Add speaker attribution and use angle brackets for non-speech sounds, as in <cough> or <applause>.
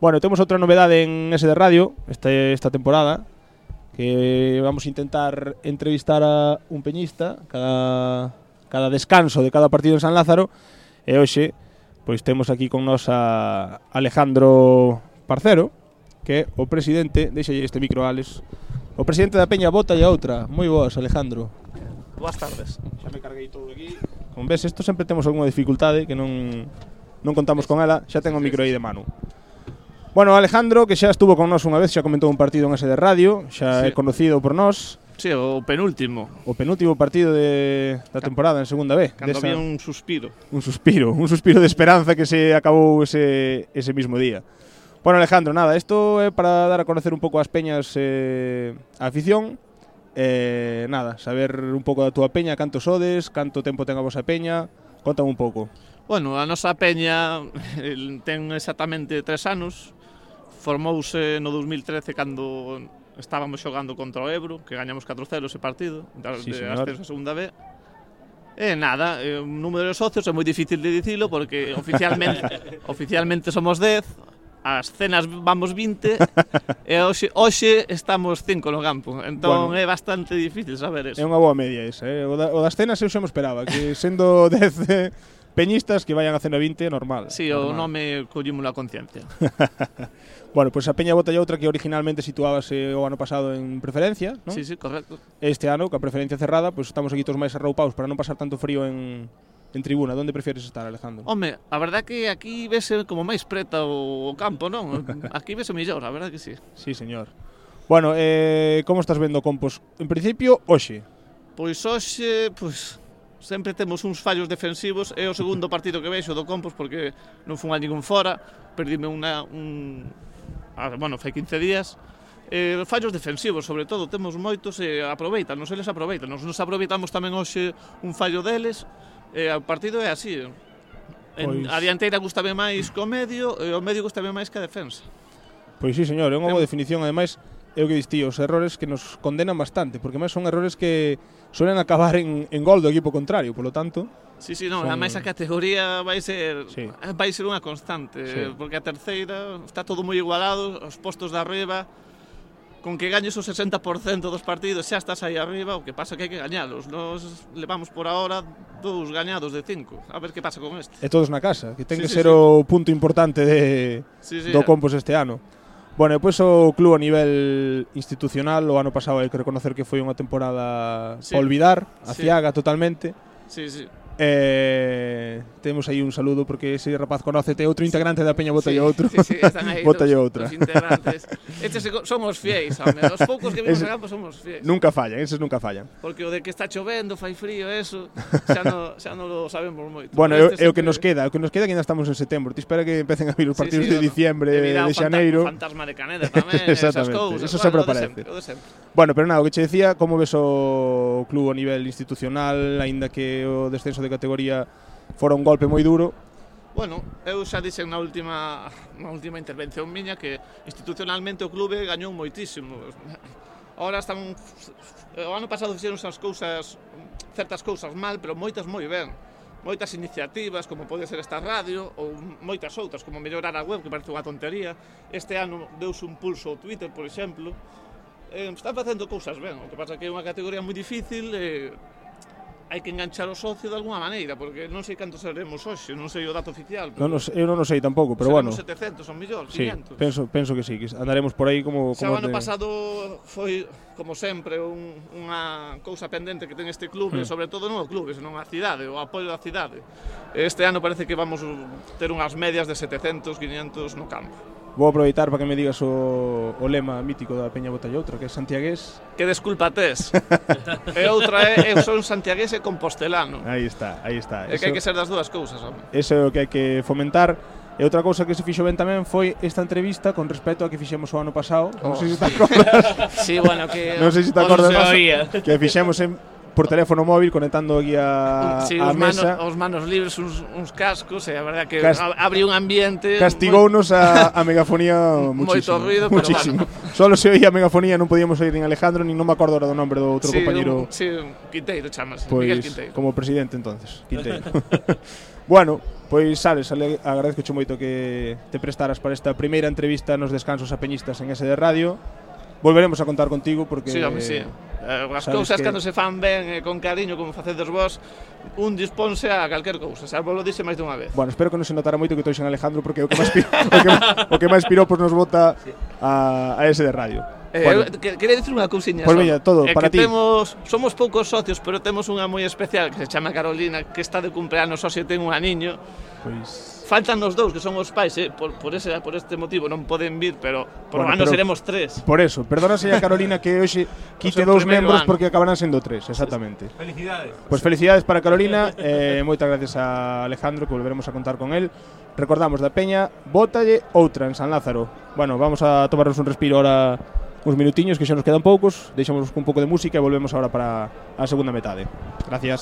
Speaker 1: Bueno, temos outra novedade en SD Radio este, esta temporada que vamos a intentar entrevistar a un peñista cada, cada descanso de cada partido en San Lázaro e hoxe pois temos aquí con nos a Alejandro Parcero que é o presidente, deixalle este micro a Alex o presidente da Peña Bota e a outra moi boas Alejandro
Speaker 2: Boas tardes.
Speaker 1: Xa me carguei todo aquí. Como ves, isto sempre temos algunha dificultade que non non contamos con ela. Xa tengo o micro aí de Manu. Bueno, Alejandro, que xa estuvo con nós unha vez, xa comentou un partido en ese de radio, xa sí. é
Speaker 2: Sí.
Speaker 1: conocido por nós,
Speaker 2: Sí, o penúltimo.
Speaker 1: o penúltimo partido de, da temporada en segunda B.
Speaker 2: Cando
Speaker 1: desa-
Speaker 2: había un suspiro.
Speaker 1: un suspiro, un suspiro de esperanza que se acabou ese, ese mismo día. Bueno, Alejandro, nada, esto é para dar a conocer un pouco as peñas eh, a afición. Eh, nada, saber un pouco da túa peña, canto sodes, canto tempo ten a vosa peña, contame un pouco.
Speaker 2: Bueno, a nosa peña <laughs> el, ten exactamente tres anos. Formouse no 2013 cando estábamos xogando contra o Ebro, que gañamos 4-0 ese partido, da,
Speaker 1: Sí,
Speaker 2: sí, de
Speaker 1: señor.
Speaker 2: ascenso a segunda B. E nada, eh, o número de socios é moi difícil de dicilo <laughs> porque oficialmente oficialmente somos 10, as cenas vamos <laughs> 20 e hoxe, hoxe estamos 5 no campo. Entón
Speaker 1: Bueno.
Speaker 2: bueno. é bastante difícil saber
Speaker 1: É
Speaker 2: eso.
Speaker 1: unha boa media esa, eh? O, da, o das cenas eu xa me esperaba, que sendo <laughs> 10 eh, peñistas que vayan a cena 20, normal.
Speaker 2: Si, sí, o
Speaker 1: normal.
Speaker 2: nome collimo a conciencia.
Speaker 1: Bueno, pois pues a Peña Bota e outra que originalmente situábase o ano pasado en preferencia, non?
Speaker 2: Sí, sí, correcto.
Speaker 1: este ano, ca preferencia cerrada, pois estamos aquí todos máis arroupados para non pasar tanto frío en, en tribuna. Onde prefieres estar, Alejandro?
Speaker 2: Home, a verdad que aquí vese como máis preta o o campo, non? Aquí vese mellor, a verdad que sí.
Speaker 1: Sí, señor. Bueno, eh, como estás vendo Compos? En principio, hoxe.
Speaker 2: Pois hoxe, pois sempre temos uns fallos defensivos, é o segundo <laughs> partido que vexo do Compos porque non fun a ningún fora, perdime unha un a, bueno, fai 15 días. Eh, fallos defensivos, sobre todo, temos moitos e aproveitan, nos eles aproveitan. Nos, nos aproveitamos tamén hoxe un fallo deles, e o partido é así.
Speaker 1: Pois-
Speaker 2: En, A dianteira gustame máis co medio, e o medio gustame máis que a defensa.
Speaker 1: Pois sí, señor, é unha boa
Speaker 2: Tem-
Speaker 1: definición, ademais, é o que distí, os errores que nos condenan bastante, porque máis son errores que suelen acabar en, en gol do equipo contrario, polo tanto,
Speaker 2: Sí, sí,
Speaker 1: Son-
Speaker 2: non, Son... ademais a categoría vai ser
Speaker 1: Sí.
Speaker 2: sí. vai ser unha constante,
Speaker 1: Sí.
Speaker 2: sí. porque a terceira está todo moi igualado, os postos de arriba con que gañes o 60% dos partidos xa estás aí arriba, o que pasa que hai que gañalos. Nos levamos por ahora dous gañados de cinco. A ver que pasa con este.
Speaker 1: é todos na casa, que ten que
Speaker 2: Sí,
Speaker 1: ser
Speaker 2: sí, sí.
Speaker 1: o punto importante de,
Speaker 2: Sí, sí.
Speaker 1: do Compos este ano. Bueno, e pois o club a nivel institucional o ano pasado hai que reconocer que foi unha temporada sí.
Speaker 2: Sí.
Speaker 1: pa olvidar, a
Speaker 2: Sí.
Speaker 1: ciaga totalmente.
Speaker 2: Sí, sí.
Speaker 1: Eh, temos aí un saludo porque ese rapaz conócete outro integrante da Peña Botalle
Speaker 2: sí,
Speaker 1: outro.
Speaker 2: Sí, sí, están
Speaker 1: <laughs>
Speaker 2: aí
Speaker 1: Bótalle
Speaker 2: dos,
Speaker 1: outra.
Speaker 2: Dos integrantes. Estes se co- son os fiéis, home. Os poucos
Speaker 1: <laughs>
Speaker 2: que vimos
Speaker 1: Ese-
Speaker 2: a campo somos fiéis.
Speaker 1: nunca fallan, eses nunca fallan.
Speaker 2: Porque o de que está chovendo, fai frío, eso, xa non xa non lo sabemos moito.
Speaker 1: Bueno, é,
Speaker 2: Pero este
Speaker 1: é o que
Speaker 2: sempre-
Speaker 1: nos queda, o que nos queda que ainda estamos en setembro. Ti espera que empecen a vir os
Speaker 2: Sí,
Speaker 1: partidos
Speaker 2: sí,
Speaker 1: de
Speaker 2: no, no.
Speaker 1: diciembre,
Speaker 2: E virá o
Speaker 1: de
Speaker 2: fanta-
Speaker 1: xaneiro.
Speaker 2: o fantasma de
Speaker 1: <laughs>
Speaker 2: Caneda tamén, esas
Speaker 1: Exactamente,
Speaker 2: cousas.
Speaker 1: eso sempre
Speaker 2: o de
Speaker 1: aparece.
Speaker 2: sempre, o de sempre.
Speaker 1: Bueno, pero nada, o que che decía, como ves o club a nivel institucional, aínda que o descenso de categoría fora un golpe moi duro,
Speaker 2: Bueno, eu xa dixen na última na última intervención miña que institucionalmente o clube gañou moitísimo. Ahora están eh, o ano pasado fixeron as cousas certas cousas mal, pero moitas moi ben. Moitas iniciativas, como pode ser esta radio, ou moitas outras, como mellorar a web, que parece unha tontería. Este ano deus un pulso ao Twitter, por exemplo. Eh, están facendo cousas ben, o que pasa que é unha categoría moi difícil e hai que enganchar o socio de alguna maneira, porque non sei cantos seremos hoxe, non sei o dato oficial,
Speaker 1: non, nos- eu non o sei tampouco, pero bueno.
Speaker 2: seremos 700, son millor,
Speaker 1: Sí,
Speaker 2: 500.
Speaker 1: penso, penso que sí, que andaremos por aí como...
Speaker 2: Xa
Speaker 1: como
Speaker 2: o ano
Speaker 1: de-
Speaker 2: pasado foi, como sempre, un, unha cousa pendente que ten este clube,
Speaker 1: Mm.
Speaker 2: sobre todo non o clube, senón a cidade, o apoio da cidade. Este ano parece que vamos ter unhas medias de 700, 500 no campo.
Speaker 1: Vou aproveitar para que me digas o, o lema mítico da Peña Botalla outra, que é santiagués.
Speaker 2: Que desculpa
Speaker 1: <laughs>
Speaker 2: tes. e outra é, eu son santiaguese compostelano.
Speaker 1: Aí está, aí está.
Speaker 2: É que hai que ser das dúas cousas, home.
Speaker 1: Eso é o que hai que fomentar. E outra cousa que se fixo ben tamén foi esta entrevista con respecto a que fixemos o ano pasado. Oh. Non sei se te acordas,
Speaker 3: Sí, bueno, que
Speaker 2: <laughs>
Speaker 1: non sei se te
Speaker 3: o
Speaker 1: acordas
Speaker 3: se oía.
Speaker 1: que fixemos en por teléfono móvil conectando aquí a,
Speaker 2: sí,
Speaker 1: a
Speaker 2: os manos,
Speaker 1: mesa.
Speaker 2: os manos libres, uns, uns cascos, e a verdade que
Speaker 1: Cas-
Speaker 2: a- abre un ambiente
Speaker 1: Castigounos a, a megafonía
Speaker 2: <laughs> Moito
Speaker 1: muchísimo.
Speaker 2: ruido, pero
Speaker 1: muchísimo. Solo se oía a megafonía, non podíamos oír nin Alejandro, nin non me acordo ahora do nombre do
Speaker 2: moi,
Speaker 1: outro
Speaker 2: sí,
Speaker 1: compañero.
Speaker 2: Un, sí, un Quinteiro chamase, Miguel
Speaker 1: Pois,
Speaker 2: Quinteiro.
Speaker 1: como presidente
Speaker 2: <laughs>
Speaker 1: entonces, Quinteiro. <laughs> bueno, pues, pois sales, ale, agradezcoche moito que te prestaras para esta primeira entrevista nos descansos a peñistas en SD Radio. Volveremos a contar contigo porque
Speaker 2: Sí, home, sí. Eh, as
Speaker 1: sabes
Speaker 2: cousas
Speaker 1: que-
Speaker 2: que... cando se fan ben e con cariño como facedes vos, un disponse a calquer cousa, xa vos lo dixe máis dunha vez.
Speaker 1: Bueno, espero que non se notara moito que estou sen Alejandro porque é o que máis pi- o que, o que máis piropos nos bota a, a SD Radio.
Speaker 2: Eh,
Speaker 1: Bueno.
Speaker 2: eu que- quería dicir unha cousiña
Speaker 1: Pois
Speaker 2: só.
Speaker 1: veña, todo,
Speaker 2: É
Speaker 1: para
Speaker 2: que
Speaker 1: ti.
Speaker 2: Temos, somos poucos socios, pero temos unha moi especial que se chama Carolina, que está de cumpleanos, só se ten un aniño.
Speaker 1: Pois
Speaker 2: Faltan os dous, que son os pais, eh? por, por, ese, por este motivo non poden vir, pero por
Speaker 1: Bueno,
Speaker 2: bueno, ano
Speaker 1: pero-
Speaker 2: seremos tres.
Speaker 1: Por eso, perdónase a Carolina que hoxe quite
Speaker 2: O seu
Speaker 1: dous
Speaker 2: primeiro
Speaker 1: membros
Speaker 2: ano.
Speaker 1: porque acabarán sendo tres, exactamente.
Speaker 3: Felicidades.
Speaker 1: Pois felicidades para Carolina e eh, moitas gracias a Alejandro que volveremos a contar con el. Recordamos da Peña, bótalle outra en San Lázaro. Bueno, vamos a tomarnos un respiro ahora uns minutiños que xa nos quedan poucos, deixamos con un pouco de música e volvemos agora para a segunda metade. Gracias.